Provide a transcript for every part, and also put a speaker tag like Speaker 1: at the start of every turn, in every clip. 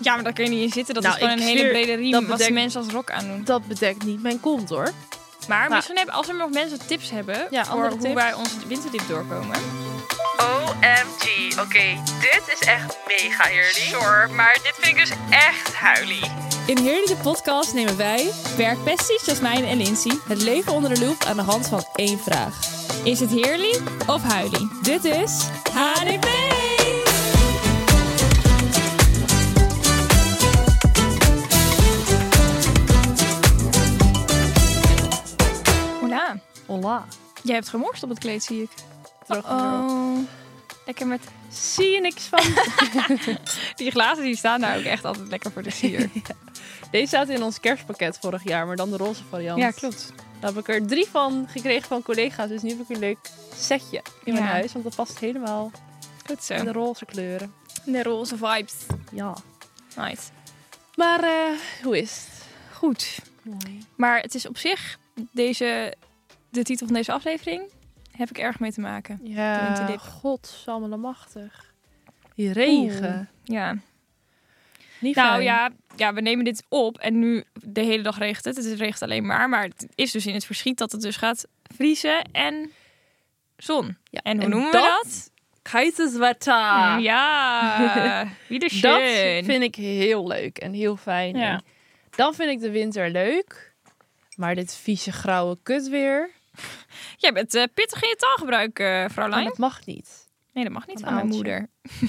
Speaker 1: Ja, maar daar kun je niet in zitten. Dat
Speaker 2: Nou,
Speaker 1: is gewoon
Speaker 2: ik
Speaker 1: een hele
Speaker 2: zweer,
Speaker 1: brede riem.
Speaker 2: dat
Speaker 1: Wat
Speaker 2: bedekt-
Speaker 1: mensen als rok aandoen.
Speaker 2: Dat bedekt niet mijn kont hoor.
Speaker 1: Maar
Speaker 2: Nou.
Speaker 1: misschien hebben, als er nog mensen tips hebben
Speaker 2: Ja,
Speaker 1: voor
Speaker 2: andere
Speaker 1: hoe
Speaker 2: tips.
Speaker 1: wij onze winterdip doorkomen.
Speaker 3: OMG. Oké, dit is echt mega eerlijk. Sure, maar dit vind ik dus echt huilie.
Speaker 4: In Heerlijke Podcast nemen wij, werkpesties Jasmijn en Lindsay, het leven onder de loep aan de hand van één vraag.
Speaker 1: Is het heerlijk of huilie?
Speaker 4: Dit is HDP!
Speaker 1: Hola.
Speaker 2: Hola.
Speaker 1: Jij hebt gemorst op het kleed, zie ik.
Speaker 2: Droog en
Speaker 1: oh. Lekker met...
Speaker 2: Zie je niks van.
Speaker 1: Die glazen die staan daar ook echt altijd lekker voor de sier.
Speaker 2: Deze zaten in ons kerstpakket vorig jaar, maar dan de roze variant.
Speaker 1: ja, klopt.
Speaker 2: Daar heb ik er drie van gekregen van collega's. Dus nu heb ik een leuk setje in mijn
Speaker 1: Ja.
Speaker 2: huis. Want dat past helemaal
Speaker 1: Goed zo.
Speaker 2: in de roze kleuren.
Speaker 1: De roze vibes.
Speaker 2: Ja.
Speaker 1: Nice.
Speaker 2: Maar eh, hoe is het?
Speaker 1: Goed.
Speaker 2: Mooi.
Speaker 1: Maar het is op zich, deze, de titel van deze aflevering, heb ik erg mee te maken.
Speaker 2: Ja,
Speaker 1: Winterdiep.
Speaker 2: godsammelemachtig. Die regen.
Speaker 1: Ja.
Speaker 2: Niet
Speaker 1: Nou
Speaker 2: fijn.
Speaker 1: ja, ja, we nemen dit op en nu de hele dag regent het. Het regent alleen maar. Maar het is dus in het verschiet dat het dus gaat vriezen en zon.
Speaker 2: Ja,
Speaker 1: En hoe
Speaker 2: en
Speaker 1: noemen we
Speaker 2: dat?
Speaker 1: dat? Ah.
Speaker 2: Geitenswater.
Speaker 1: Ja, wie de
Speaker 2: Dat
Speaker 1: schön.
Speaker 2: vind ik heel leuk en heel fijn.
Speaker 1: Ja.
Speaker 2: En dan vind ik de winter leuk. Maar dit vieze grauwe oh, kutweer,
Speaker 1: Jij bent eh, pittig in je taalgebruik, eh
Speaker 2: weer,
Speaker 1: vrouwlijn.
Speaker 2: dat mag niet.
Speaker 1: Nee, dat mag niet
Speaker 2: Van
Speaker 1: van mijn
Speaker 2: Aaltje.
Speaker 1: moeder.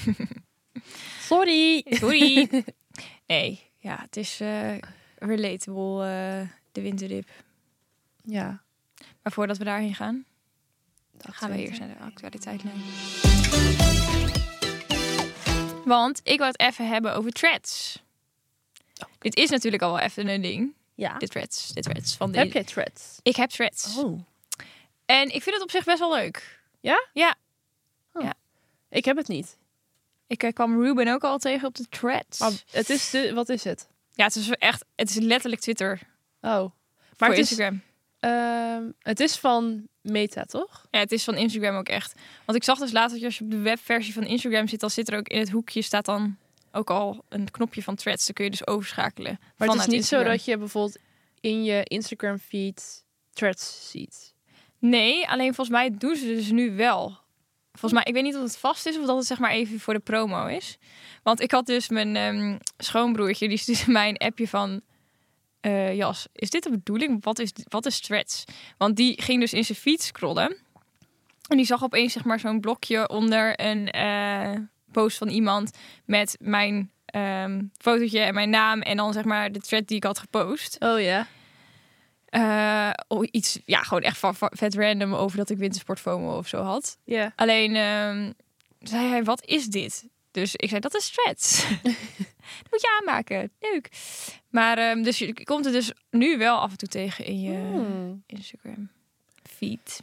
Speaker 2: Sorry.
Speaker 1: Sorry. nee, ja, het is eh, relatable, eh, de winterdip.
Speaker 2: Ja.
Speaker 1: Maar voordat we daarheen gaan,
Speaker 2: dat
Speaker 1: gaan we
Speaker 2: weet
Speaker 1: eerst
Speaker 2: ik.
Speaker 1: naar de actualiteit nemen. Want ik wil het even hebben over threads.
Speaker 2: Oh.
Speaker 1: Dit is natuurlijk al wel even een ding.
Speaker 2: Ja.
Speaker 1: De threads, de threads van de.
Speaker 2: Ah. Heb jij threads?
Speaker 1: Ik heb threads.
Speaker 2: Oh.
Speaker 1: En ik vind het op zich best wel leuk.
Speaker 2: Ja?
Speaker 1: Ja.
Speaker 2: Ik heb het niet.
Speaker 1: Ik eh, kwam Ruben ook al tegen op de threads.
Speaker 2: Maar het is de, wat is het?
Speaker 1: Ja, het is echt, het is letterlijk Twitter
Speaker 2: Oh.
Speaker 1: maar
Speaker 2: Maar
Speaker 1: voor
Speaker 2: het is,
Speaker 1: Instagram.
Speaker 2: ehm, het is van Meta, toch?
Speaker 1: Ja, het is van Instagram ook echt. Want ik zag dus later dat je als je op de webversie van Instagram zit, dan zit er ook in het hoekje staat dan ook al een knopje van threads. Dan kun je dus overschakelen.
Speaker 2: Maar het
Speaker 1: vanuit
Speaker 2: is niet zo
Speaker 1: Instagram.
Speaker 2: dat je bijvoorbeeld in je Instagram feed threads ziet.
Speaker 1: Nee, alleen volgens mij doen ze dus nu wel. Volgens mij, ik weet niet of het vast is of dat het zeg maar even voor de promo is. Want ik had dus mijn ehm, schoonbroertje, die stuurde mij een appje van... eh, Jas, is dit de bedoeling? Wat is, wat is threads? Want die ging dus in zijn feed scrollen. En die zag opeens zeg maar zo'n blokje onder een eh, post van iemand... met mijn ehm, fotootje en mijn naam en dan zeg maar de thread die ik had gepost.
Speaker 2: Oh ja.
Speaker 1: Eh, oh, iets, ja, gewoon echt van, van- vet random over dat ik wintersportfomo of zo had.
Speaker 2: Ja.
Speaker 1: Alleen ehm, zei hij, wat is dit? Dus ik zei, dat is threads. dat moet je aanmaken. Leuk. Maar ehm, dus je komt het dus nu wel af en toe tegen in je
Speaker 2: Hmm.
Speaker 1: Instagram feed.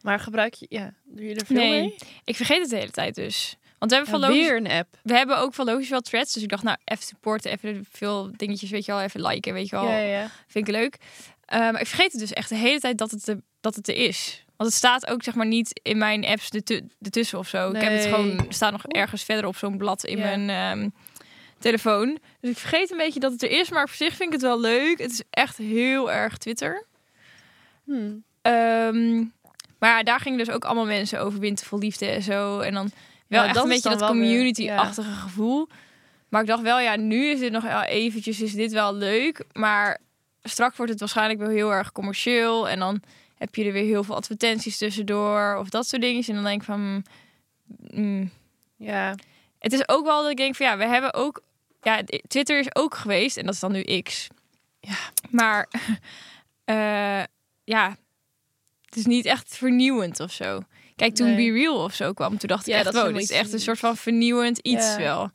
Speaker 2: Maar gebruik je, ja, doe je er veel
Speaker 1: Nee.
Speaker 2: mee?
Speaker 1: Ik vergeet het de hele tijd dus. Want we hebben,
Speaker 2: Ja,
Speaker 1: van logisch,
Speaker 2: weer een app.
Speaker 1: we hebben ook van logisch wel threads. Dus ik dacht, nou, even supporten, even veel dingetjes, weet je wel, even liken, weet je wel.
Speaker 2: Ja, ja, ja.
Speaker 1: Vind ik leuk. Eh, maar ik vergeet het dus echt de hele tijd dat het, er- dat het er is. Want het staat ook zeg maar niet in mijn apps ertu- ertussen of zo. Ik heb het
Speaker 2: Nee.
Speaker 1: gewoon, het staat nog ergens verder op zo'n blad in
Speaker 2: Ja.
Speaker 1: mijn ehm, telefoon. Dus ik vergeet een beetje dat het er is. Maar voor zich vind ik het wel leuk. Het is echt heel erg Twitter.
Speaker 2: Hmm.
Speaker 1: Ehm, maar ja, daar gingen dus ook allemaal mensen over winter vol liefde en zo. En dan wel
Speaker 2: Ja,
Speaker 1: echt
Speaker 2: dat
Speaker 1: een
Speaker 2: is
Speaker 1: beetje
Speaker 2: dan
Speaker 1: dat
Speaker 2: wel weer-
Speaker 1: community-achtige gevoel. Maar ik dacht wel, ja, nu is dit nog wel eventjes, is dit wel leuk. Maar strak wordt het waarschijnlijk wel heel erg commercieel. En dan heb je er weer heel veel advertenties tussendoor of dat soort dingetjes. En dan denk ik van, mm,
Speaker 2: Ja.
Speaker 1: het is ook wel dat ik denk van ja, we hebben ook. Ja, Twitter is ook geweest en dat is dan nu X.
Speaker 2: Ja.
Speaker 1: Maar eh, ja, het is niet echt vernieuwend of zo. Kijk, toen
Speaker 2: Nee.
Speaker 1: Be Real of zo kwam, toen dacht ik
Speaker 2: Ja,
Speaker 1: echt,
Speaker 2: dat is
Speaker 1: wow, dit
Speaker 2: helemaal
Speaker 1: is
Speaker 2: iets
Speaker 1: echt een
Speaker 2: nieuws.
Speaker 1: soort van vernieuwend iets
Speaker 2: Ja.
Speaker 1: wel.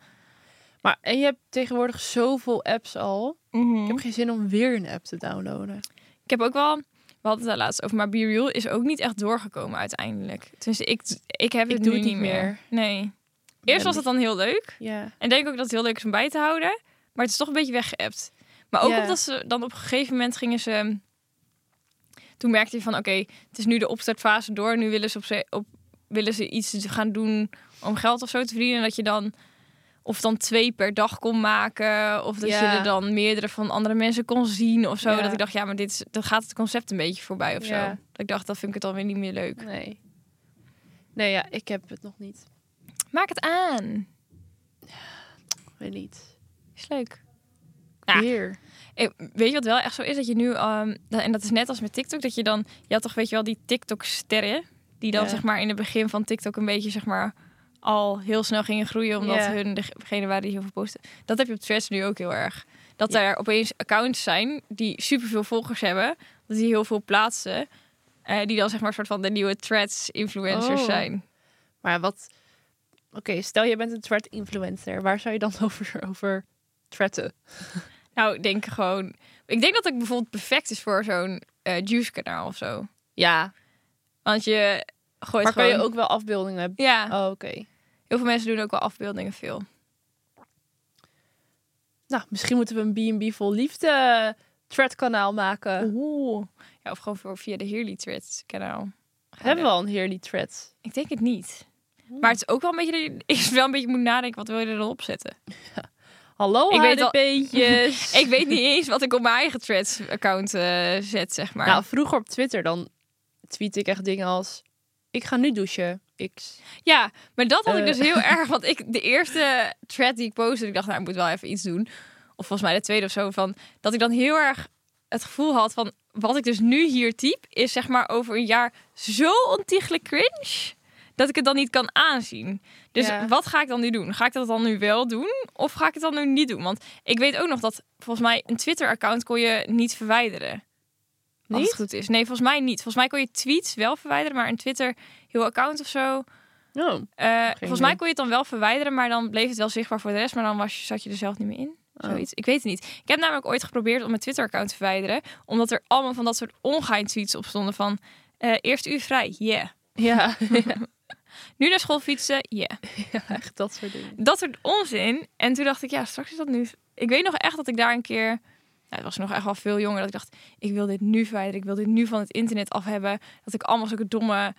Speaker 2: Maar en je hebt tegenwoordig zoveel apps al. Ik heb geen zin om weer een app te downloaden.
Speaker 1: Ik Hmm? heb ook wel, we hadden het daar laatst over, maar Be Real is ook niet echt doorgekomen uiteindelijk. Dus ik, ik heb
Speaker 2: Ik
Speaker 1: het
Speaker 2: doe
Speaker 1: nu
Speaker 2: het
Speaker 1: niet
Speaker 2: niet
Speaker 1: meer.
Speaker 2: meer.
Speaker 1: Nee. Eerst was het dan heel leuk.
Speaker 2: Ja.
Speaker 1: En denk ook dat het heel leuk is om bij te houden. Maar het is toch een beetje weggeëpt. Maar ook
Speaker 2: Ja.
Speaker 1: omdat ze dan op een gegeven moment gingen ze... ehm, Toen merkte je van, oké, het is nu de opstartfase door. Nu willen ze, op, ze- op, willen ze iets gaan doen om geld of zo te verdienen. En dat je dan of dan twee per dag kon maken. Of dat
Speaker 2: Ja.
Speaker 1: je er dan meerdere van andere mensen kon zien of zo.
Speaker 2: Ja.
Speaker 1: Dat ik dacht, ja, maar dit is, dan gaat het concept een beetje voorbij of
Speaker 2: Ja.
Speaker 1: zo. Dat ik dacht, dat vind ik het alweer niet meer leuk.
Speaker 2: Nee. Nee, ja, ik heb het nog niet.
Speaker 1: Maak het aan.
Speaker 2: Weet niet.
Speaker 1: Is leuk. Ja.
Speaker 2: Weer.
Speaker 1: Eh, Weet je wat wel echt zo is? Dat je nu, ehm, dat- en dat is net als met TikTok, dat je dan, je had toch weet je wel die TikTok-sterren, die dan
Speaker 2: Ja.
Speaker 1: zeg maar in het begin van TikTok een beetje zeg maar al heel snel gingen groeien, omdat
Speaker 2: Ja.
Speaker 1: hun degene waren die heel veel posten. Dat heb je op Threads nu ook heel erg. Dat er opeens accounts zijn die superveel volgers hebben, dat die heel veel plaatsen, eh, die dan zeg maar een soort van de nieuwe Threads-influencers
Speaker 2: Oh.
Speaker 1: zijn.
Speaker 2: Maar wat... Oké, stel je bent een thread-influencer. Waar zou je dan over, over threaten?
Speaker 1: Nou, ik denk gewoon, ik denk dat ik bijvoorbeeld perfect is voor zo'n eh, juice-kanaal of zo.
Speaker 2: Ja.
Speaker 1: Want je gooit
Speaker 2: Maar kan
Speaker 1: gewoon...
Speaker 2: je ook wel afbeeldingen...
Speaker 1: Ja.
Speaker 2: Oh, oké.
Speaker 1: Heel veel mensen doen ook wel afbeeldingen veel.
Speaker 2: Nou, misschien moeten we een B&B vol liefde thread-kanaal maken.
Speaker 1: Oeh. Ja, of gewoon voor- via de Heerly Threads kanaal.
Speaker 2: Hebben we al een heerly thread?
Speaker 1: Ik denk het niet. Hm. Maar het is ook wel een beetje, dat je- is wel een beetje moet nadenken, wat wil je er dan op zetten?
Speaker 2: Hallo,
Speaker 1: Ik weet al-
Speaker 2: HDP'tjes.
Speaker 1: Ik weet niet eens wat ik op mijn eigen Threads-account eh, zet, zeg maar.
Speaker 2: Nou, vroeger op Twitter dan tweet ik echt dingen als... Ik ga nu douchen. X.
Speaker 1: ja, maar dat had ik
Speaker 2: Eh.
Speaker 1: dus heel erg, want ik, de eerste thread die ik postte, ik dacht, nou, ik moet wel even iets doen. Of volgens mij de tweede of zo, van, dat ik dan heel erg het gevoel had van, wat ik dus nu hier typ, is zeg maar over een jaar zo ontiegelijk cringe, dat ik het dan niet kan aanzien. Dus
Speaker 2: Ja.
Speaker 1: wat ga ik dan nu doen? Ga ik dat dan nu wel doen? Of ga ik het dan nu niet doen? Want ik weet ook nog dat, volgens mij, een Twitter-account kon je niet verwijderen. Als
Speaker 2: Niet?
Speaker 1: het goed is. Nee, volgens mij niet. Volgens mij kon je tweets wel verwijderen, maar een Twitter heel account of zo.
Speaker 2: Oh.
Speaker 1: Eh, volgens mij
Speaker 2: idee.
Speaker 1: kon je het dan wel verwijderen, maar dan bleef het wel zichtbaar voor de rest. Maar dan was je, zat je er zelf niet meer in.
Speaker 2: Oh.
Speaker 1: Zoiets. Ik weet het niet. Ik heb namelijk ooit geprobeerd om mijn Twitter-account te verwijderen. Omdat er allemaal van dat soort ongein tweets op stonden van... eh, eerst u vrij, yeah.
Speaker 2: Ja,
Speaker 1: Nu naar school fietsen, yeah.
Speaker 2: echt dat soort dingen.
Speaker 1: dat soort onzin. En toen dacht ik, ja, straks is dat nu. Ik weet nog echt dat ik daar een keer. Nou, het was nog echt wel veel jonger. Dat ik dacht, ik wil dit nu verwijderen. Ik wil dit nu van het internet af hebben. Dat ik allemaal zulke domme,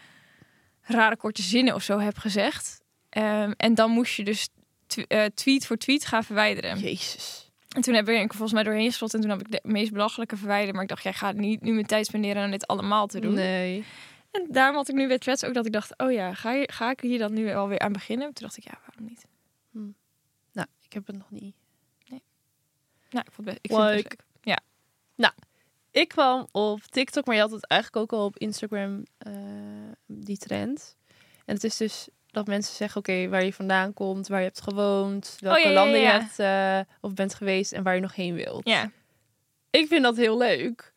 Speaker 1: rare korte zinnen of zo heb gezegd. Ehm, en dan moest je dus tw- eh, tweet voor tweet gaan verwijderen.
Speaker 2: Jezus.
Speaker 1: En toen heb ik er volgens mij doorheen gesloten. En toen heb ik de meest belachelijke verwijderd. Maar ik dacht, jij gaat niet nu mijn tijd spenderen aan dit allemaal te doen.
Speaker 2: Nee.
Speaker 1: En daarom had ik nu bij Threads ook dat ik dacht, oh ja, ga, je, ga ik hier dan nu alweer aan beginnen? Toen dacht ik, ja, waarom niet?
Speaker 2: Nou, ik heb het nog niet.
Speaker 1: Nou, ik vond het best, ik vind het best
Speaker 2: Leuk.
Speaker 1: leuk.
Speaker 2: Ik kwam op TikTok, maar je had het eigenlijk ook al op Instagram, eh, die trend. En het is dus dat mensen zeggen, oké, waar je vandaan komt, waar je hebt gewoond, welke
Speaker 1: ja, ja,
Speaker 2: landen
Speaker 1: ja.
Speaker 2: je hebt eh, of bent geweest en waar je nog heen wilt.
Speaker 1: Ja.
Speaker 2: Ik vind dat heel leuk.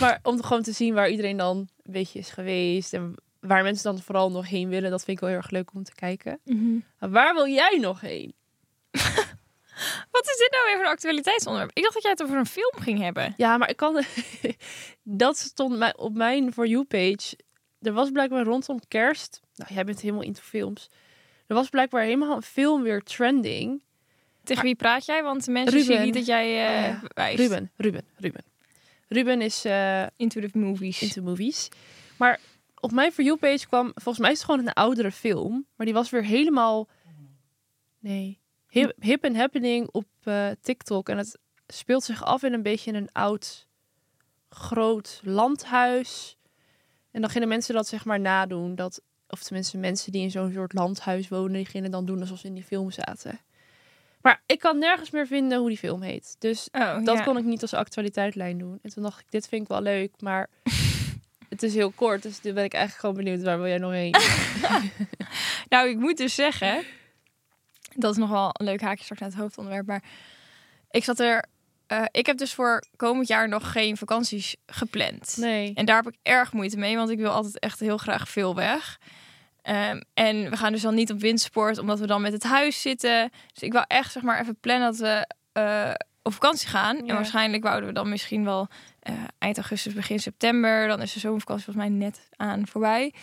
Speaker 2: Maar om gewoon te zien waar iedereen dan een beetje is geweest en waar mensen dan vooral nog heen willen, dat vind ik wel heel erg leuk om te kijken. Maar waar wil jij nog heen?
Speaker 1: Wat is dit nou weer voor een actualiteitsonderwerp? Ik dacht dat jij het over een film ging hebben.
Speaker 2: Ja, maar ik kan. dat stond mij op mijn For You-page. Er was blijkbaar rondom kerst. Nou, jij bent helemaal into films. Er was blijkbaar helemaal een film weer trending.
Speaker 1: Tegen wie praat jij? Want de mensen
Speaker 2: Ruben.
Speaker 1: zien niet dat jij eh
Speaker 2: Oh ja.
Speaker 1: wijst.
Speaker 2: Ruben, Ruben, Ruben. Ruben is eh,
Speaker 1: Into the movies.
Speaker 2: into movies. Maar op mijn For You-page kwam. Volgens mij is het gewoon een oudere film. Maar die was weer helemaal. Nee. Hip, hip and happening op eh, TikTok. En het speelt zich af in een beetje een oud, groot landhuis. En dan gingen mensen dat zeg maar nadoen. Dat, of tenminste mensen die in zo'n soort landhuis wonen, die gingen dan doen alsof ze in die film zaten. Maar ik kan nergens meer vinden hoe die film heet. Dus
Speaker 1: Oh,
Speaker 2: dat
Speaker 1: ja.
Speaker 2: kon ik niet als actualiteitlijn doen. En toen dacht ik, dit vind ik wel leuk, maar het is heel kort. Dus toen ben ik eigenlijk gewoon benieuwd, waar wil jij nog heen?
Speaker 1: Nou, ik moet dus zeggen... Dat is nog wel een leuk haakje straks naar het hoofdonderwerp. Maar ik zat er... eh, ik heb dus voor komend jaar nog geen vakanties gepland.
Speaker 2: Nee.
Speaker 1: En daar heb ik erg moeite mee, want ik wil altijd echt heel graag veel weg. Ehm, en we gaan dus dan niet op windsport, omdat we dan met het huis zitten. Dus ik wou echt zeg maar even plannen dat we eh, op vakantie gaan.
Speaker 2: Ja.
Speaker 1: En waarschijnlijk wouden we dan misschien wel eh, eind augustus, begin september. Dan is de zomervakantie volgens mij net aan voorbij.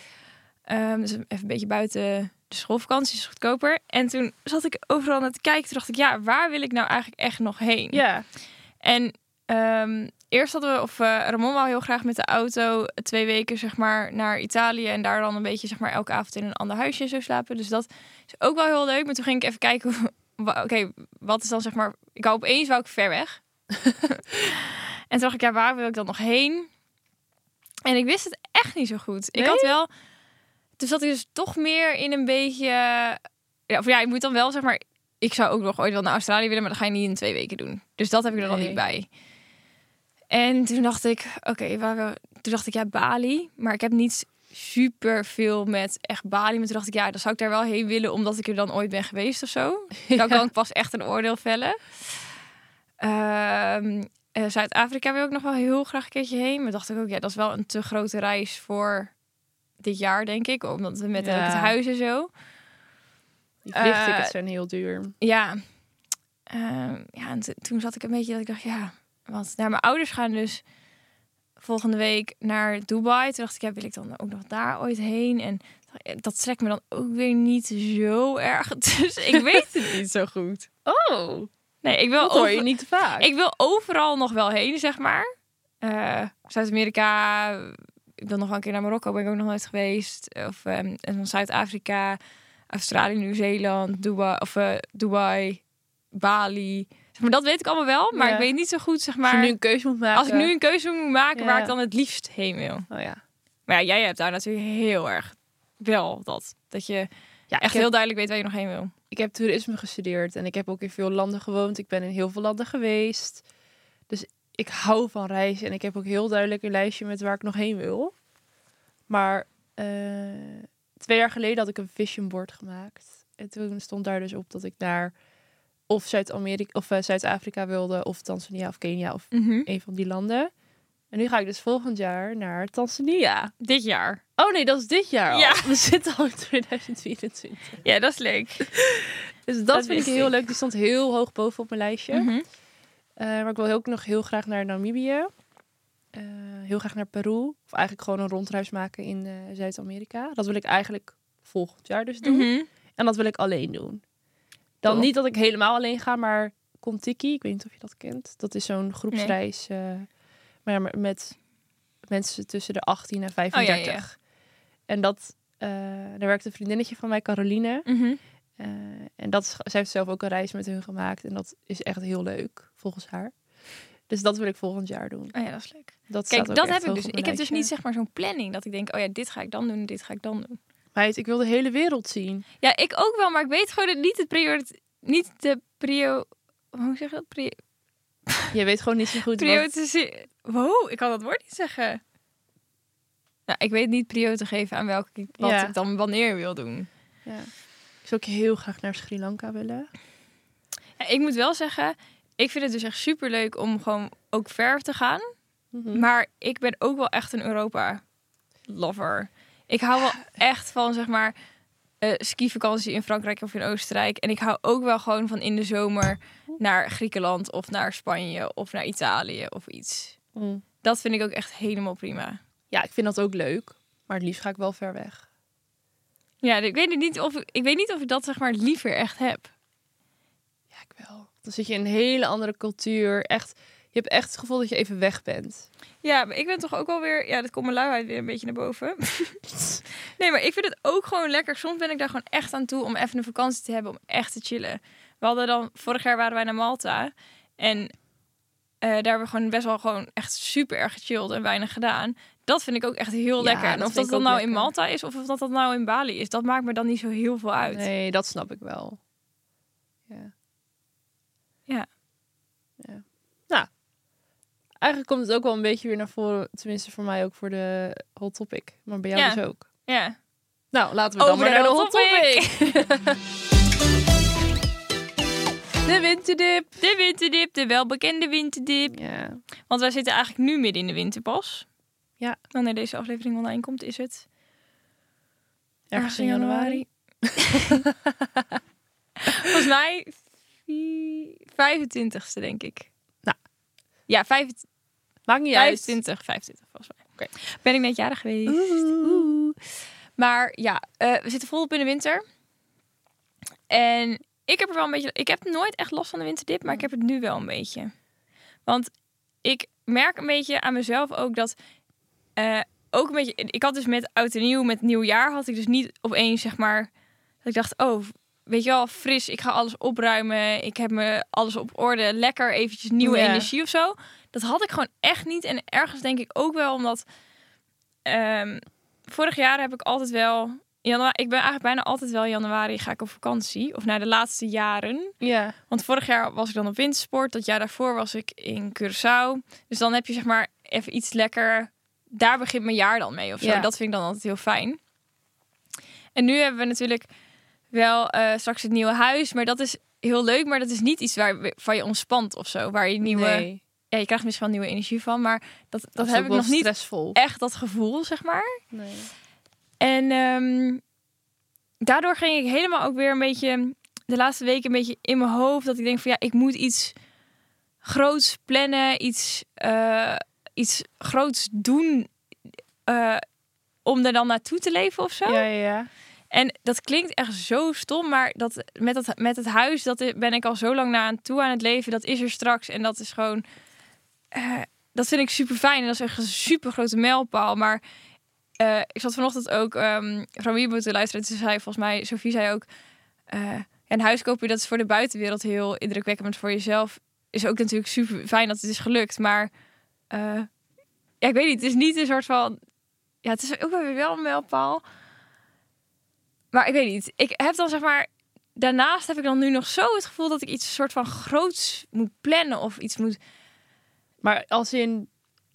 Speaker 1: Ehm, dus even een beetje buiten de schoolvakantie is goedkoper. En toen zat ik overal naar te kijken. Toen dacht ik, ja, waar wil ik nou eigenlijk echt nog heen?
Speaker 2: Ja.
Speaker 1: En ehm, eerst hadden we, of eh, Ramon wou heel graag met de auto twee weken zeg maar naar Italië en daar dan een beetje zeg maar elke avond in een ander huisje en zo slapen. Dus dat is ook wel heel leuk. Maar toen ging ik even kijken hoe- wa- oké, wat is dan zeg maar... Ik wou opeens wou ik ver weg. en toen dacht ik, ja, waar wil ik dan nog heen? En ik wist het echt niet zo goed. Ik
Speaker 2: Nee?
Speaker 1: had wel... Toen zat ik dus toch meer in een beetje... Ja, of ja, ik moet dan wel zeg maar... Ik zou ook nog ooit wel naar Australië willen, maar dat ga je niet in twee weken doen. Dus dat heb ik er al
Speaker 2: Nee.
Speaker 1: niet bij. En toen dacht ik, oké, waar wil- toen dacht ik, ja, Bali. Maar ik heb niet super veel met echt Bali. Maar toen dacht ik, ja, dan zou ik daar wel heen willen, omdat ik er dan ooit ben geweest of zo. Dan kan ik pas echt een oordeel vellen. Ehm, eh, Zuid-Afrika wil ik nog wel heel graag een keertje heen. Maar dacht ik ook, ja, dat is wel een te grote reis voor dit jaar, denk ik. Omdat we met
Speaker 2: Ja.
Speaker 1: ook het huis en zo.
Speaker 2: Die vliegtickets
Speaker 1: Eh,
Speaker 2: zijn heel duur.
Speaker 1: Ja. Ehm, ja, en t- toen zat ik een beetje dat ik dacht, ja, want naar mijn ouders gaan dus volgende week naar Dubai. Toen dacht ik, ja, wil ik dan ook nog daar ooit heen? En dat trekt me dan ook weer niet zo erg. Dus ik weet het niet zo goed.
Speaker 2: Oh,
Speaker 1: Nee, ik wil,
Speaker 2: dat hoor je
Speaker 1: over-
Speaker 2: niet te vaak.
Speaker 1: Oh. ik wil overal nog wel heen, zeg maar. Eh, Zuid-Amerika, ik wil nog wel een keer naar Marokko, ben ik ook nog nooit geweest. Of ehm, en dan Zuid-Afrika, Australië, Nieuw-Zeeland, Dubai, of, eh, Dubai, Bali. Zeg maar, dat weet ik allemaal wel, maar
Speaker 2: Ja.
Speaker 1: ik weet niet zo goed, zeg
Speaker 2: als je
Speaker 1: maar.
Speaker 2: nu een keuze moet maken.
Speaker 1: Als ik nu een keuze moet maken waar
Speaker 2: Ja.
Speaker 1: ik dan het liefst heen wil.
Speaker 2: Oh ja.
Speaker 1: Maar ja, jij hebt daar natuurlijk heel erg wel dat. Dat je
Speaker 2: Ja,
Speaker 1: echt
Speaker 2: ik,
Speaker 1: heel
Speaker 2: heb,
Speaker 1: duidelijk weet waar je nog heen wil.
Speaker 2: ik heb toerisme gestudeerd en ik heb ook in veel landen gewoond. Ik ben in heel veel landen geweest. Dus ik hou van reizen en ik heb ook heel duidelijk een lijstje met waar ik nog heen wil. Maar eh, twee jaar geleden had ik een vision board gemaakt. En toen stond daar dus op dat ik naar of Zuid-Amerika of eh, Zuid-Afrika wilde, of Tanzania of Kenia of
Speaker 1: Mhm.
Speaker 2: een van die landen. En nu ga ik dus volgend jaar naar Tanzania.
Speaker 1: Dit jaar.
Speaker 2: Oh nee, dat is dit jaar al.
Speaker 1: Ja.
Speaker 2: We zitten al in 2024.
Speaker 1: Ja, dat is leuk.
Speaker 2: Dus dat,
Speaker 1: Dat
Speaker 2: vind ik
Speaker 1: wist
Speaker 2: heel
Speaker 1: ik.
Speaker 2: leuk. Die stond heel hoog boven op mijn lijstje.
Speaker 1: Mhm.
Speaker 2: Eh, maar ik wil ook nog heel graag naar Namibië. Eh, heel graag naar Peru. Of eigenlijk gewoon een rondreis maken in eh, Zuid-Amerika. Dat wil ik eigenlijk volgend jaar dus doen.
Speaker 1: Mhm.
Speaker 2: En dat wil ik alleen doen. Dan
Speaker 1: Top.
Speaker 2: niet dat ik helemaal alleen ga, maar Contiki, ik weet niet of je dat kent. Dat is zo'n groepsreis eh, maar ja, maar met mensen tussen de 18
Speaker 1: Oh,
Speaker 2: en 35. En dat, eh, daar werkt een vriendinnetje van mij, Caroline.
Speaker 1: Mhm.
Speaker 2: Eh, en dat is, zij heeft zelf ook een reis met hun gemaakt. En dat is echt heel leuk, volgens haar. Dus dat wil ik volgend jaar doen.
Speaker 1: Oh ja, dat is leuk.
Speaker 2: Dat staat
Speaker 1: Kijk,
Speaker 2: ook
Speaker 1: dat
Speaker 2: echt
Speaker 1: heb ik
Speaker 2: hoog
Speaker 1: dus.
Speaker 2: op mijn
Speaker 1: Ik heb dus
Speaker 2: lijstje.
Speaker 1: niet zeg maar zo'n planning dat ik denk, oh ja, dit ga ik dan doen, dit ga ik dan doen.
Speaker 2: Meid, ik wil de hele wereld zien.
Speaker 1: Ja, ik ook wel, maar ik weet gewoon dat niet het priorit, niet de prio, hoe zeg je dat? Pri,
Speaker 2: Je weet gewoon niet zo goed wat...
Speaker 1: prioritise- Wow, ik kan dat woord niet zeggen. Nou, ik weet niet prio te geven aan welke wat
Speaker 2: Ja.
Speaker 1: ik dan wanneer wil doen.
Speaker 2: Ja. Ik zou ook heel graag naar Sri Lanka willen.
Speaker 1: Ja, ik moet wel zeggen, ik vind het dus echt super leuk om gewoon ook ver te gaan.
Speaker 2: Mhm.
Speaker 1: Maar ik ben ook wel echt een Europa-lover. Ik hou wel echt van, zeg maar, eh skivakantie in Frankrijk of in Oostenrijk. En ik hou ook wel gewoon van in de zomer naar Griekenland of naar Spanje of naar Italië of iets.
Speaker 2: Mm.
Speaker 1: Dat vind ik ook echt helemaal prima.
Speaker 2: Ja, ik vind dat ook leuk. Maar het liefst ga ik wel ver weg.
Speaker 1: Ja, ik weet, het niet of, ik weet niet of ik dat zeg maar liever echt heb.
Speaker 2: Ja, ik wel. Dan zit je in een hele andere cultuur. Echt, je hebt echt het gevoel dat je even weg bent.
Speaker 1: Ja, maar ik ben toch ook wel weer... Ja, dat komt mijn luiheid weer een beetje naar boven. Nee, maar ik vind het ook gewoon lekker. Soms ben ik daar gewoon echt aan toe om even een vakantie te hebben, om echt te chillen. We hadden dan, vorig jaar waren wij naar Malta. En eh, daar hebben we gewoon best wel gewoon echt super erg gechilled en weinig gedaan. Dat vind ik ook echt heel
Speaker 2: Ja,
Speaker 1: lekker. En
Speaker 2: dat
Speaker 1: of
Speaker 2: vind
Speaker 1: dat
Speaker 2: ik
Speaker 1: dan
Speaker 2: ook
Speaker 1: nou in
Speaker 2: lekker.
Speaker 1: Malta is of of dat dat nou in Bali is, dat maakt me dan niet zo heel veel uit.
Speaker 2: Nee, dat snap ik wel. Ja.
Speaker 1: Ja.
Speaker 2: Ja. Nou, eigenlijk komt het ook wel een beetje weer naar voren. Tenminste voor mij ook voor de hot topic. Maar bij jou
Speaker 1: Ja.
Speaker 2: dus ook.
Speaker 1: Ja.
Speaker 2: Nou, laten we dan
Speaker 1: Over
Speaker 2: maar
Speaker 1: naar
Speaker 2: naar de
Speaker 1: de
Speaker 2: hot topic. De winterdip.
Speaker 1: De winterdip, de welbekende winterdip.
Speaker 2: Ja.
Speaker 1: Want wij zitten eigenlijk nu midden in de winter pas.
Speaker 2: Ja.
Speaker 1: Wanneer deze aflevering online komt, is het
Speaker 2: Ergens in januari.
Speaker 1: Volgens mij vi- 25ste, denk ik.
Speaker 2: Nou. dus-
Speaker 1: Ja, vijf-
Speaker 2: Maakt niet uit.
Speaker 1: 25, 25 volgens mij.
Speaker 2: Oké.
Speaker 1: Ben ik net jarig geweest.
Speaker 2: Oeh.
Speaker 1: Maar ja, eh, we zitten volop in de winter. En ik heb er wel een beetje... Ik heb nooit echt last van de winterdip, maar ik heb het nu wel een beetje. Want ik merk een beetje aan mezelf ook dat... eh, ook een beetje... Ik had dus met oud en nieuw, met nieuwjaar had ik dus niet opeens zeg maar... Dat ik dacht, oh, weet je wel, fris. Ik ga alles opruimen. Ik heb me alles op orde. Lekker eventjes nieuwe
Speaker 2: Ja.
Speaker 1: energie of zo. Dat had ik gewoon echt niet. En ergens denk ik ook wel omdat... ehm, vorig jaar heb ik altijd wel... Januari, ik ben eigenlijk bijna altijd wel januari ga ik op vakantie. Of naar de laatste jaren.
Speaker 2: Ja.
Speaker 1: Want vorig jaar was ik dan op wintersport. Dat jaar daarvoor was ik in Curaçao. Dus dan heb je zeg maar even iets lekker... Daar begint mijn jaar dan mee of zo.
Speaker 2: Ja.
Speaker 1: Dat vind ik dan altijd heel fijn. En nu hebben we natuurlijk wel eh, straks het nieuwe huis. Maar dat is heel leuk. Maar dat is niet iets waar, waar je ontspant of zo. Waar je nieuwe...
Speaker 2: Nee.
Speaker 1: Ja, je krijgt misschien wel nieuwe energie van. Maar dat, dat,
Speaker 2: is
Speaker 1: heb
Speaker 2: ook
Speaker 1: ik
Speaker 2: wel
Speaker 1: nog niet Eh,
Speaker 2: stressvol.
Speaker 1: echt dat gevoel, zeg maar.
Speaker 2: Nee.
Speaker 1: En ehm, daardoor ging ik helemaal ook weer een beetje de laatste weken een beetje in mijn hoofd dat ik denk van ja, ik moet iets groots plannen, iets, eh, iets groots doen eh, om er dan naartoe te leven of zo.
Speaker 2: Ja, ja, ja.
Speaker 1: En dat klinkt echt zo stom, maar dat met, dat, met het huis dat i- ben ik al zo lang naar aan toe aan het leven. Dat is er straks en dat is gewoon. eh, dat vind ik super fijn en dat is echt een super grote mijlpaal. Maar eh, ik zat vanochtend ook ehm Ramibo te luisteren. Ze zei volgens mij, Sophie zei ook. eh een huis kopen, dat is voor de buitenwereld heel indrukwekkend. Maar voor jezelf is ook natuurlijk super fijn dat het is gelukt. Maar eh, ja, ik weet niet, het is niet een soort van. Ja, het is ook wel weer wel een mijlpaal. Maar ik weet niet. Ik heb dan zeg maar. Daarnaast heb ik dan nu nog zo het gevoel dat ik iets soort van groots moet plannen of iets moet.
Speaker 2: Maar als in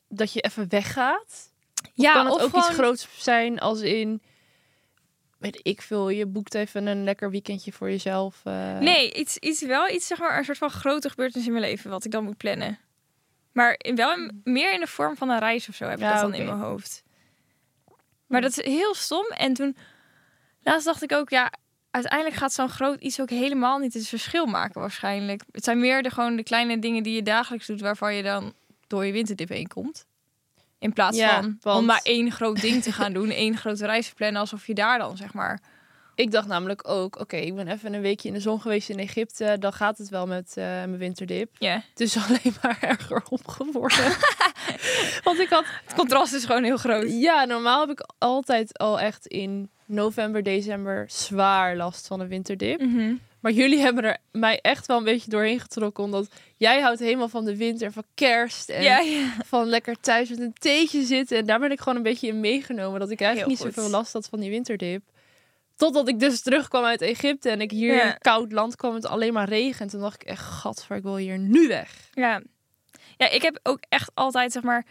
Speaker 2: dat je even weggaat,
Speaker 1: Ja,
Speaker 2: kan het
Speaker 1: of
Speaker 2: ook
Speaker 1: gewoon-
Speaker 2: iets groots zijn als in, weet ik veel, je boekt even een lekker weekendje voor jezelf. eh.
Speaker 1: Nee, iets, iets wel iets zeg maar een soort van grote gebeurtenis in mijn leven wat ik dan moet plannen. Maar in, wel in- meer in de vorm van een reis of zo heb ik
Speaker 2: Ja,
Speaker 1: dat dan
Speaker 2: oké.
Speaker 1: in mijn hoofd. Maar dat is heel stom. En toen laatst dacht ik ook, ja, uiteindelijk gaat zo'n groot iets ook helemaal niet het verschil maken waarschijnlijk. Het zijn meer de, gewoon de kleine dingen die je dagelijks doet waarvan je dan door je winterdip heen komt. In plaats
Speaker 2: Ja,
Speaker 1: van om
Speaker 2: want-
Speaker 1: maar één groot ding te gaan doen, één grote reis te plannen, alsof je daar dan zeg maar.
Speaker 2: Ik dacht namelijk ook, oké, ik ben even een weekje in de zon geweest in Egypte, dan gaat het wel met eh, mijn winterdip.
Speaker 1: Ja,
Speaker 2: Het is alleen maar erger om geworden. Want ik had
Speaker 1: het contrast is gewoon heel groot.
Speaker 2: Ja, normaal heb ik altijd al echt in november, december zwaar last van een winterdip.
Speaker 1: Mhm.
Speaker 2: Maar jullie hebben er mij echt wel een beetje doorheen getrokken. Omdat jij houdt helemaal van de winter, van kerst en
Speaker 1: Ja, ja.
Speaker 2: van lekker thuis met een theetje zitten. En daar ben ik gewoon een beetje in meegenomen. Dat ik eigenlijk
Speaker 1: Heel
Speaker 2: niet
Speaker 1: goed.
Speaker 2: zoveel last had van die winterdip. Totdat ik dus terugkwam uit Egypte en ik hier
Speaker 1: Ja.
Speaker 2: in een koud land kwam met alleen maar regen. En toen dacht ik echt, gadver, ik wil hier nu weg.
Speaker 1: Ja. ja, ik heb ook echt altijd, zeg maar...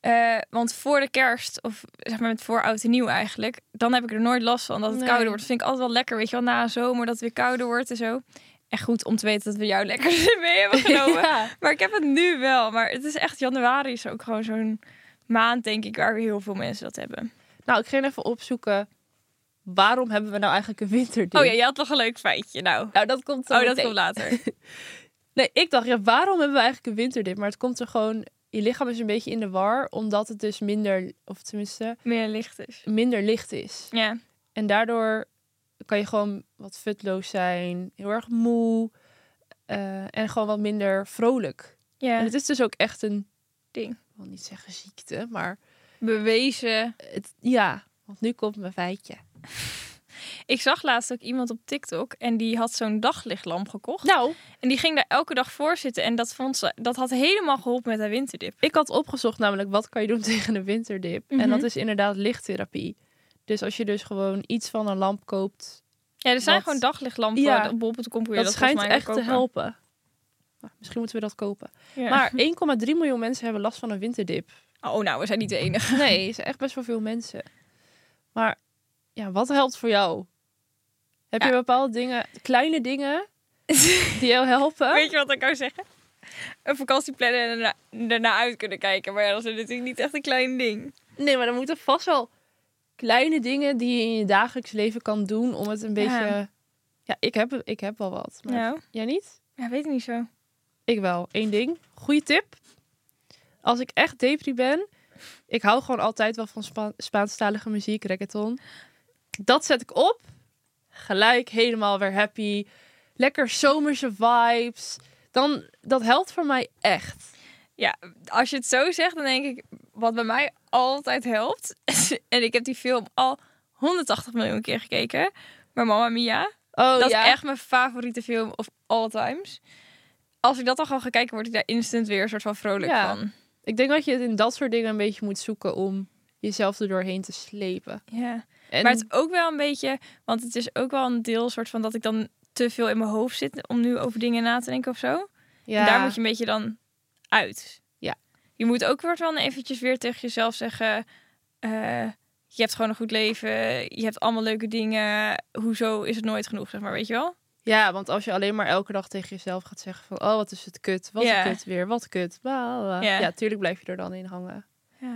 Speaker 1: eh, want voor de kerst, of zeg maar met voor oud en nieuw eigenlijk... dan heb ik er nooit last van dat het
Speaker 2: Nee.
Speaker 1: kouder wordt. Dat vind ik altijd wel lekker, weet je wel. Na een zomer dat het weer kouder wordt en zo. Echt goed om te weten dat we jou lekker mee hebben genomen.
Speaker 2: Ja.
Speaker 1: Maar ik heb het nu wel. Maar het is echt, januari is ook gewoon zo'n maand, denk ik... waar heel veel mensen dat hebben.
Speaker 2: Nou, ik ging even opzoeken, waarom hebben we nou eigenlijk een winterdip?
Speaker 1: Oh ja, je had nog een leuk feitje, nou.
Speaker 2: Nou, dat komt zo
Speaker 1: Oh, dat
Speaker 2: meteen.
Speaker 1: komt later.
Speaker 2: Nee, ik dacht, ja, waarom hebben we eigenlijk een winterdip? Maar het komt er gewoon... Je lichaam is een beetje in de war, omdat het dus minder... Of tenminste,
Speaker 1: Meer licht is.
Speaker 2: minder licht is.
Speaker 1: Ja,
Speaker 2: En daardoor kan je gewoon wat futloos zijn. Heel erg moe. eh, en gewoon wat minder vrolijk. En
Speaker 1: ja.
Speaker 2: het is dus ook echt een...
Speaker 1: Ding.
Speaker 2: Ik wil niet zeggen ziekte, maar...
Speaker 1: Bewezen
Speaker 2: Het, ja, want nu komt mijn feitje.
Speaker 1: Ik zag laatst ook iemand op TikTok en die had zo'n daglichtlamp gekocht.
Speaker 2: Nou,
Speaker 1: En die ging daar elke dag voor zitten en dat, vond ze, dat had helemaal geholpen met haar winterdip.
Speaker 2: ik had opgezocht namelijk wat kan je doen tegen een winterdip.
Speaker 1: Mhm.
Speaker 2: En dat is inderdaad lichttherapie. Dus als je dus gewoon iets van een lamp koopt
Speaker 1: Ja, er zijn
Speaker 2: Wat?
Speaker 1: gewoon daglichtlampen
Speaker 2: Ja.
Speaker 1: op bol.com kun je
Speaker 2: Dat,
Speaker 1: dat volgens
Speaker 2: schijnt
Speaker 1: mij
Speaker 2: echt
Speaker 1: ook
Speaker 2: te
Speaker 1: kopen.
Speaker 2: helpen. Nou, misschien moeten we dat kopen.
Speaker 1: Ja.
Speaker 2: Maar 1,3 miljoen mensen hebben last van een winterdip.
Speaker 1: oh nou, we zijn niet de enige.
Speaker 2: Nee, is echt best wel veel mensen. Maar ja, wat helpt voor jou? Heb je
Speaker 1: Ja.
Speaker 2: bepaalde dingen, kleine dingen die jou helpen?
Speaker 1: Weet je wat ik zou zeggen? Een vakantie plannen en daarna, daarna uit kunnen kijken. Maar ja, dat is natuurlijk niet echt een klein ding.
Speaker 2: Nee, maar dan moeten vast wel kleine dingen die je in je dagelijks leven kan doen om het
Speaker 1: Ja.
Speaker 2: een beetje. Ja, ik heb, ik heb wel wat. Maar
Speaker 1: Nou,
Speaker 2: jij niet?
Speaker 1: ja, weet ik niet zo.
Speaker 2: Ik wel. Eén ding. Goeie tip. Als ik echt depri ben, ik hou gewoon altijd wel van Spa Spaanstalige muziek, reggaeton. Dat zet ik op. Gelijk helemaal weer happy. Lekker zomerse vibes. Dan, dat helpt voor mij echt.
Speaker 1: als je het zo zegt, dan denk ik, wat bij mij altijd helpt. en ik heb die film al 180 miljoen keer gekeken. Maar Mamma Mia,
Speaker 2: Oh
Speaker 1: dat
Speaker 2: ja.
Speaker 1: is echt mijn favoriete film of all times. Als ik dat dan gewoon ga kijken, word ik daar instant weer een soort van vrolijk
Speaker 2: Ja.
Speaker 1: van.
Speaker 2: Ik denk dat je het in dat soort dingen een beetje moet zoeken om jezelf er doorheen te slepen.
Speaker 1: Ja.
Speaker 2: En
Speaker 1: Maar het is ook wel een beetje, want het is ook wel een deel soort van dat ik dan te veel in mijn hoofd zit om nu over dingen na te denken of zo.
Speaker 2: ja,
Speaker 1: En daar moet je een beetje dan uit.
Speaker 2: Ja.
Speaker 1: Je moet ook weer dan eventjes weer tegen jezelf zeggen... eh, je hebt gewoon een goed leven. Je hebt allemaal leuke dingen. Hoezo is het nooit genoeg, zeg maar, weet je wel?
Speaker 2: ja, want als je alleen maar elke dag tegen jezelf gaat zeggen van oh wat is het kut, wat
Speaker 1: Ja.
Speaker 2: een kut weer, wat kut, bla, bla, bla.
Speaker 1: Ja.
Speaker 2: ja, tuurlijk blijf je er dan in hangen. Dus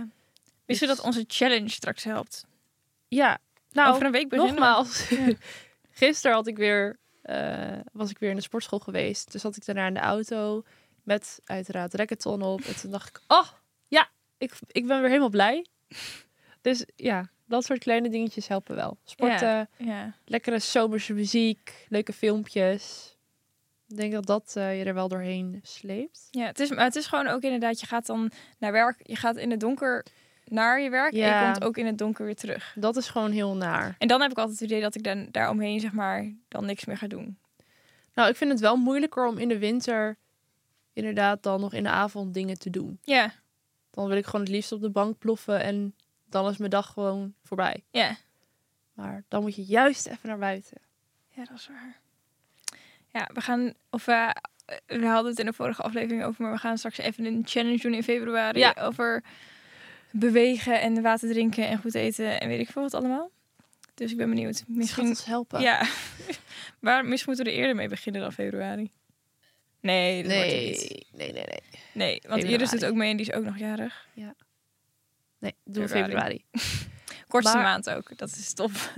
Speaker 1: Wist je dat onze challenge straks helpt?
Speaker 2: Ja, nou
Speaker 1: Over een week beginnen we.
Speaker 2: nogmaals, gisteren had ik weer, eh, was ik weer in de sportschool geweest. Dus zat ik daarna in de auto met uiteraard Racketon op. En toen dacht ik, oh ja, ik, ik ben weer helemaal blij. Dus ja, dat soort kleine dingetjes helpen wel. Sporten,
Speaker 1: Ja.
Speaker 2: lekkere zomerse muziek, leuke filmpjes. Ik denk dat dat eh, je er wel doorheen sleept.
Speaker 1: ja het, is, maar het is gewoon ook inderdaad, je gaat dan naar werk. Je gaat in het donker naar je werk. En
Speaker 2: Ja.
Speaker 1: je komt ook in het donker weer terug.
Speaker 2: Dat is gewoon heel naar.
Speaker 1: En dan heb ik altijd het idee dat ik dan daaromheen, zeg maar, dan niks meer ga doen.
Speaker 2: Nou, ik vind het wel moeilijker om in de winter inderdaad dan nog in de avond dingen te doen.
Speaker 1: Ja,
Speaker 2: Dan wil ik gewoon het liefst op de bank ploffen en dan is mijn dag gewoon voorbij.
Speaker 1: ja.
Speaker 2: Maar dan moet je juist even naar buiten.
Speaker 1: Ja, dat is waar. Ja, we gaan. Of eh, we hadden het in de vorige aflevering over, maar we gaan straks even een challenge doen in februari.
Speaker 2: Ja.
Speaker 1: Over bewegen en water drinken en goed eten en weet ik veel wat allemaal. Dus ik ben benieuwd.
Speaker 2: Misschien
Speaker 1: Misschien.
Speaker 2: ons helpen.
Speaker 1: Ja. maar misschien moeten we er eerder mee beginnen dan februari. Nee, dat wordt het
Speaker 2: Nee,
Speaker 1: niet.
Speaker 2: nee, nee, nee.
Speaker 1: Nee, want Iris doet
Speaker 2: Februari.
Speaker 1: ook mee en die is ook nog jarig.
Speaker 2: Nee, doe
Speaker 1: Februari.
Speaker 2: februari.
Speaker 1: Kortste
Speaker 2: Maar-
Speaker 1: maand ook. Dat is tof.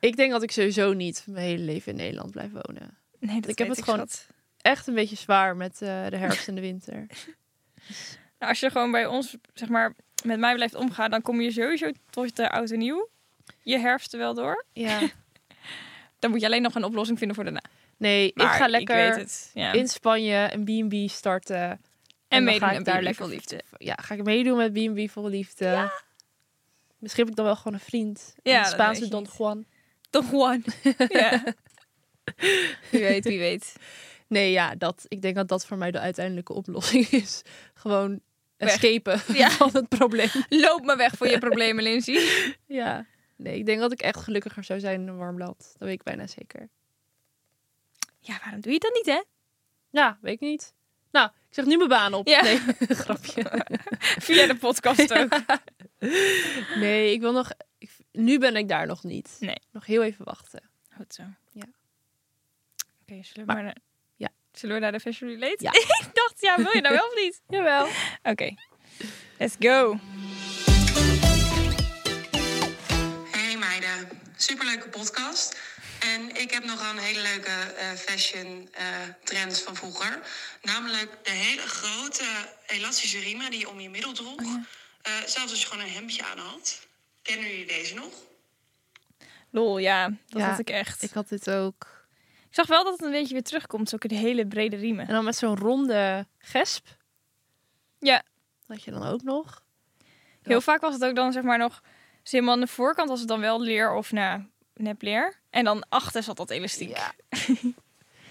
Speaker 2: ik denk dat ik sowieso niet mijn hele leven in Nederland blijf wonen.
Speaker 1: Nee, dat
Speaker 2: Ik heb
Speaker 1: weet
Speaker 2: het gewoon-
Speaker 1: schat.
Speaker 2: Echt een beetje zwaar met eh, de herfst en de winter.
Speaker 1: Nou, als je gewoon bij ons, zeg maar, met mij blijft omgaan, dan kom je sowieso tot de oud en nieuw. Je herfst er wel door.
Speaker 2: Ja.
Speaker 1: Dan moet je alleen nog een oplossing vinden voor daarna.
Speaker 2: Nee,
Speaker 1: Maar
Speaker 2: ik ga lekker
Speaker 1: weet het. Ja.
Speaker 2: in Spanje een B&B starten. En,
Speaker 1: en
Speaker 2: dan
Speaker 1: meedoen
Speaker 2: ga
Speaker 1: en
Speaker 2: ik daar lekker
Speaker 1: liefde.
Speaker 2: Ja, ga ik meedoen met B&B vol liefde. Misschien heb ik dan wel gewoon een vriend.
Speaker 1: Ja,
Speaker 2: een
Speaker 1: dat
Speaker 2: Spaanse
Speaker 1: weet je
Speaker 2: Don
Speaker 1: niet.
Speaker 2: Juan.
Speaker 1: Toch one. ja. Wie weet, wie weet.
Speaker 2: Nee, ja, dat, ik denk dat dat voor mij de uiteindelijke oplossing is. Gewoon
Speaker 1: Weg.
Speaker 2: escapen
Speaker 1: Ja.
Speaker 2: van het probleem.
Speaker 1: Loop maar weg voor je problemen, Lindsay.
Speaker 2: Ja. Nee, ik denk dat ik echt gelukkiger zou zijn in een warm land. Dat weet ik bijna zeker.
Speaker 1: Ja, waarom doe je dat niet, hè?
Speaker 2: Ja, weet ik niet. Nou, ik zeg nu mijn baan op.
Speaker 1: Ja.
Speaker 2: Nee, grapje.
Speaker 1: Via de podcast ook.
Speaker 2: Nee, ik wil nog... Ik, nu ben ik daar nog niet.
Speaker 1: Nee.
Speaker 2: Nog heel even wachten.
Speaker 1: Goed zo.
Speaker 2: Ja.
Speaker 1: Oké, zullen we maar... naar-
Speaker 2: Ja.
Speaker 1: Zullen we naar de Fashion Relate?
Speaker 2: Ja.
Speaker 1: ik dacht, ja, wil je nou wel of niet?
Speaker 2: Jawel.
Speaker 1: Oké, let's go.
Speaker 5: Hey meiden, superleuke podcast. En ik heb nog een hele leuke eh, fashion eh, trends van vroeger. Namelijk de hele grote elastische riemen die je om je middel droeg. Eh, zelfs als je gewoon een hemdje aan had. Kennen jullie deze nog?
Speaker 1: Lol, ja, dat
Speaker 2: Ja,
Speaker 1: had ik echt.
Speaker 2: Ik had dit ook.
Speaker 1: Ik zag wel dat het een beetje weer terugkomt, zulke die hele brede
Speaker 2: En
Speaker 1: riemen.
Speaker 2: dan met zo'n ronde gesp.
Speaker 1: Ja.
Speaker 2: Dat had je dan ook nog.
Speaker 1: Heel vaak was het ook dan zeg maar nog, dus helemaal aan de voorkant was het dan wel leer of na nep leer. En dan achter zat dat elastiek.
Speaker 2: Ja.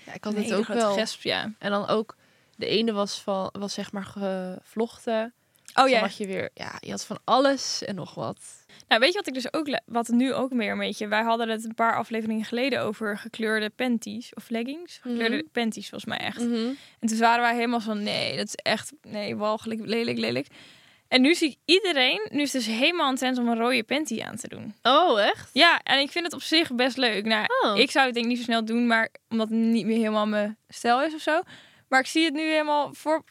Speaker 2: Ja, ik had
Speaker 1: Een
Speaker 2: dit
Speaker 1: hele
Speaker 2: ook
Speaker 1: grote
Speaker 2: wel.
Speaker 1: gesp, ja.
Speaker 2: En dan ook... De ene was, van, was zeg maar gevlochten.
Speaker 1: Oh
Speaker 2: Dan
Speaker 1: ja.
Speaker 2: had je weer... Ja, je had van alles en nog wat.
Speaker 1: Nou, weet je wat ik dus ook, le- wat nu ook meer een beetje, wij hadden het een paar afleveringen geleden over gekleurde panties of leggings. Gekleurde panties volgens mij
Speaker 2: Mm.
Speaker 1: echt.
Speaker 2: Mhm.
Speaker 1: En toen waren wij helemaal van, nee, dat is echt, nee, walgelijk, lelijk, lelijk. En nu zie ik iedereen, nu is het dus helemaal een trend om een rode panty aan te doen.
Speaker 2: Oh, echt?
Speaker 1: Ja, en ik vind het op zich best leuk. Nou,
Speaker 2: Oh.
Speaker 1: Ik zou het denk ik niet zo snel doen, maar omdat het niet meer helemaal mijn stijl is of zo. Maar ik zie het nu helemaal voor,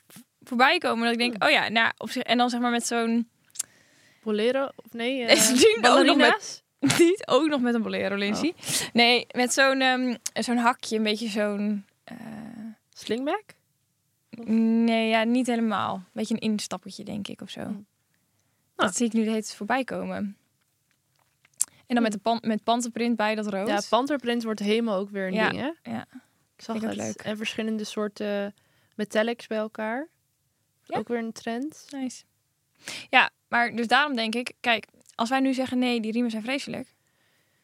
Speaker 1: voorbij komen. Dat ik denk, oh ja, nou, op zich, en dan zeg maar met zo'n...
Speaker 2: Bolero? Of nee? eh,
Speaker 1: Is die nou nog met-
Speaker 2: ballerina's?
Speaker 1: Niet ook nog met een bolero, Lindsay. Oh. Nee, met zo'n ehm, zo'n hakje, een beetje zo'n... eh,
Speaker 2: Slingback?
Speaker 1: nee, ja, niet helemaal. Een beetje een instappetje, denk ik, of zo. Dat zie ik nu de hele tijd voorbij komen. En dan met, de pan, met pantenprint bij, dat rood.
Speaker 2: Ja, panterprint wordt helemaal ook weer een
Speaker 1: Ja,
Speaker 2: ding, hè?
Speaker 1: ja.
Speaker 2: Ik zag
Speaker 1: Vind ik
Speaker 2: het.
Speaker 1: ook leuk.
Speaker 2: En verschillende soorten eh, metallics bij elkaar.
Speaker 1: Ja.
Speaker 2: Ook weer een trend.
Speaker 1: Nice. Ja, maar dus daarom denk ik, kijk, als wij nu zeggen nee, die riemen zijn vreselijk,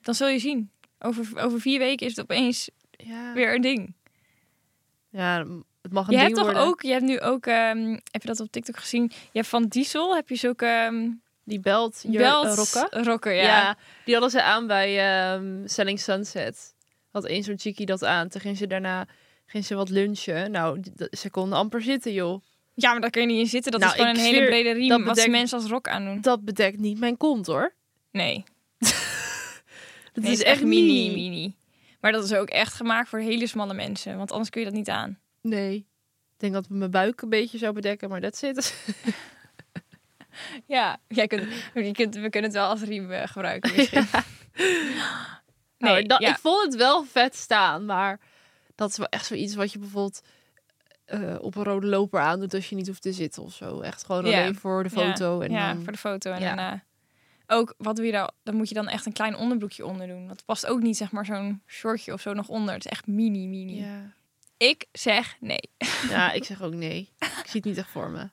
Speaker 1: dan zul je zien. Over, over vier weken is het opeens
Speaker 2: Ja,
Speaker 1: weer een ding.
Speaker 2: ja het mag een
Speaker 1: Je hebt
Speaker 2: ding
Speaker 1: toch
Speaker 2: worden.
Speaker 1: ook, je hebt nu ook, ehm, heb je dat op TikTok gezien? Je hebt van Diesel, heb je zulke ehm
Speaker 2: Die belt, je
Speaker 1: belt-
Speaker 2: eh, rokken.
Speaker 1: rocker, ja.
Speaker 2: Ja. die hadden ze aan bij ehm, Selling Sunset. Had één zo'n chickie dat aan. Toen ging ze daarna ging ze wat lunchen. Nou, die- dat- ze kon amper zitten, joh.
Speaker 1: Ja, maar daar kun je niet in zitten. Dat
Speaker 2: Nou,
Speaker 1: is gewoon
Speaker 2: ik
Speaker 1: een hele
Speaker 2: zweer,
Speaker 1: brede riem
Speaker 2: dat
Speaker 1: wat ze
Speaker 2: bedekt-
Speaker 1: mensen als rok aandoen.
Speaker 2: Dat bedekt niet mijn kont, hoor.
Speaker 1: Nee,
Speaker 2: Dat
Speaker 1: nee,
Speaker 2: is echt mini.
Speaker 1: mini, mini. Maar dat is ook echt gemaakt voor hele smalle mensen, want anders kun je dat niet aan.
Speaker 2: Nee. Ik denk dat het mijn buik een beetje zou bedekken, maar dat zit.
Speaker 1: Ja, jij kunt, je kunt, we kunnen het wel als riem eh, gebruiken misschien. Nou,
Speaker 2: Nee,
Speaker 1: Nee,
Speaker 2: Nou, dat,
Speaker 1: ja.
Speaker 2: ik vond het wel vet staan, maar dat is wel echt zoiets wat je bijvoorbeeld eh, op een rode loper aandoet als je niet hoeft te zitten of zo. Echt gewoon
Speaker 1: Ja.
Speaker 2: alleen voor de foto.
Speaker 1: Ja,
Speaker 2: en
Speaker 1: ja,
Speaker 2: dan-
Speaker 1: voor de foto. En
Speaker 2: ja.
Speaker 1: daarna ook, wat doe je daar? Dan moet je dan echt een klein onderbroekje onder doen. Dat past ook niet, zeg maar, zo'n shortje of zo nog onder. Het is echt mini, mini.
Speaker 2: ja.
Speaker 1: Ik zeg nee.
Speaker 2: ja, ik zeg ook nee. Ik zie het niet echt voor me.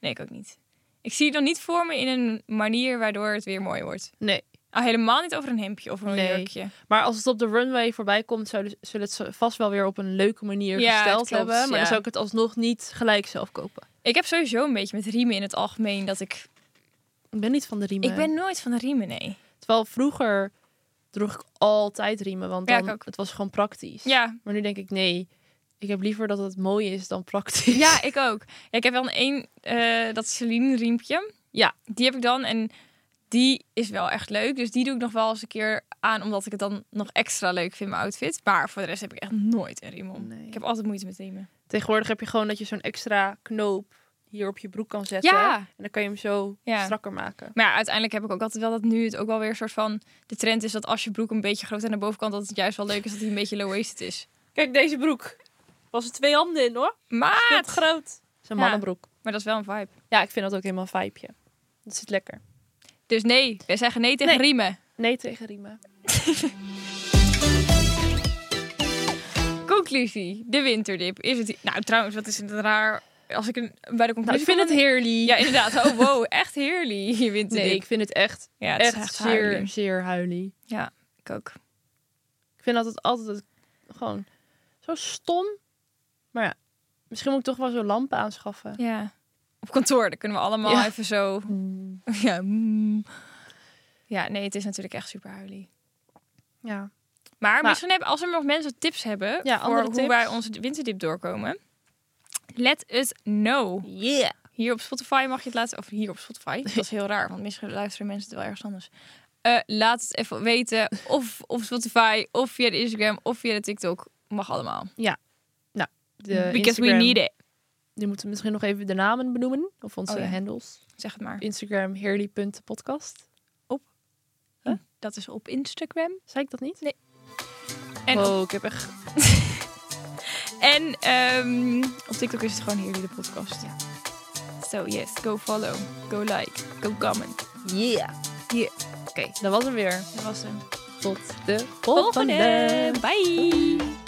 Speaker 1: Nee, ik ook niet. Ik zie het dan niet voor me in een manier waardoor het weer mooi wordt.
Speaker 2: Nee.
Speaker 1: Al helemaal niet over een hemdje of een
Speaker 2: Nee.
Speaker 1: jurkje.
Speaker 2: Maar als het op de runway voorbij komt, zouden- zullen ze het vast wel weer op een leuke manier
Speaker 1: Ja, het
Speaker 2: gesteld
Speaker 1: klopt,
Speaker 2: hebben. Maar
Speaker 1: ja.
Speaker 2: dan zou ik het alsnog niet gelijk zelf kopen.
Speaker 1: Ik heb sowieso een beetje met riemen in het algemeen dat ik...
Speaker 2: Ik ben niet van de riemen.
Speaker 1: Ik ben nooit van de riemen, nee.
Speaker 2: Terwijl vroeger droeg ik altijd riemen, want
Speaker 1: Ja,
Speaker 2: dan,
Speaker 1: ik ook.
Speaker 2: het was gewoon praktisch.
Speaker 1: Ja,
Speaker 2: Maar nu denk ik, nee, ik heb liever dat het mooi is dan praktisch.
Speaker 1: Ja, ik ook. Ja, ik heb wel een één, eh, dat Celine riempje.
Speaker 2: Ja.
Speaker 1: Die heb ik dan en die is wel echt leuk. Dus die doe ik nog wel eens een keer aan, omdat ik het dan nog extra leuk vind, mijn outfit. Maar voor de rest heb ik echt nooit een riem om.
Speaker 2: Nee.
Speaker 1: Ik heb altijd moeite met riemen.
Speaker 2: Tegenwoordig heb je gewoon dat je zo'n extra knoop hier op je broek kan zetten.
Speaker 1: Ja.
Speaker 2: En dan kan je hem zo
Speaker 1: Ja.
Speaker 2: strakker maken.
Speaker 1: Maar ja, uiteindelijk heb ik ook altijd wel dat nu het ook wel weer een soort van... De trend is dat als je broek een beetje groot en de bovenkant... dat het juist wel leuk is dat hij een beetje low-waisted is.
Speaker 4: Kijk, deze broek. Was er twee handen in hoor.
Speaker 1: Maar,
Speaker 4: groot.
Speaker 2: Zo'n
Speaker 1: Ja.
Speaker 2: mannenbroek.
Speaker 1: maar dat is wel een vibe.
Speaker 2: Ja, ik vind dat ook helemaal een vibeje. Dat zit lekker.
Speaker 1: Dus nee, wij zeggen nee tegen
Speaker 2: Nee.
Speaker 1: riemen.
Speaker 2: Nee tegen riemen.
Speaker 1: Conclusie, de winterdip. Is het... Nou, trouwens, wat is het raar... Als ik een, bij de conclusie
Speaker 2: Nou,
Speaker 1: kom,
Speaker 2: ik vind het
Speaker 1: dan-
Speaker 2: heerlijk.
Speaker 1: Ja, inderdaad. Oh, wow. Echt heerlijk. Je wint
Speaker 2: nee, ik vind het echt,
Speaker 1: Ja, het
Speaker 2: echt,
Speaker 1: is echt
Speaker 2: zeer,
Speaker 1: huilen.
Speaker 2: zeer huilie.
Speaker 1: Ja, ik ook.
Speaker 2: Ik vind dat het altijd gewoon zo stom. Maar ja, misschien moet ik toch wel zo'n lamp aanschaffen.
Speaker 1: Ja. Op kantoor, dan kunnen we allemaal
Speaker 2: Ja.
Speaker 1: even zo... Ja, mm. ja, nee, het is natuurlijk echt super huilie.
Speaker 2: Ja.
Speaker 1: Maar,
Speaker 2: Maar-
Speaker 1: misschien hebben, als er nog mensen tips hebben...
Speaker 2: Ja,
Speaker 1: voor
Speaker 2: andere
Speaker 1: hoe
Speaker 2: tips.
Speaker 1: wij onze winterdip doorkomen... Let us know.
Speaker 2: Yeah.
Speaker 1: Hier op Spotify mag je het laten... Of hier op Spotify. Dat is heel raar, want misschien luisteren mensen het wel ergens anders. Eh, laat het even weten. Of op Spotify, of via de Instagram, of via de TikTok. Mag allemaal.
Speaker 2: De
Speaker 1: Because we
Speaker 2: Instagram.
Speaker 1: need it.
Speaker 2: Je moet misschien nog even de namen benoemen. Of onze
Speaker 1: Oh ja.
Speaker 2: handles.
Speaker 1: Zeg het maar.
Speaker 2: Instagram heerly.podcast.
Speaker 1: Dat is op Instagram.
Speaker 2: Zei ik dat niet?
Speaker 1: Nee. En, op,
Speaker 2: oh, ik heb echt...
Speaker 1: en ehm, op TikTok is het gewoon hier de podcast. So yes, go follow, go like, go comment.
Speaker 2: Yeah.
Speaker 1: Yeah.
Speaker 2: Oké, dat was hem weer.
Speaker 1: Dat was hem.
Speaker 2: Tot de volgende.
Speaker 1: Volgende. Bye.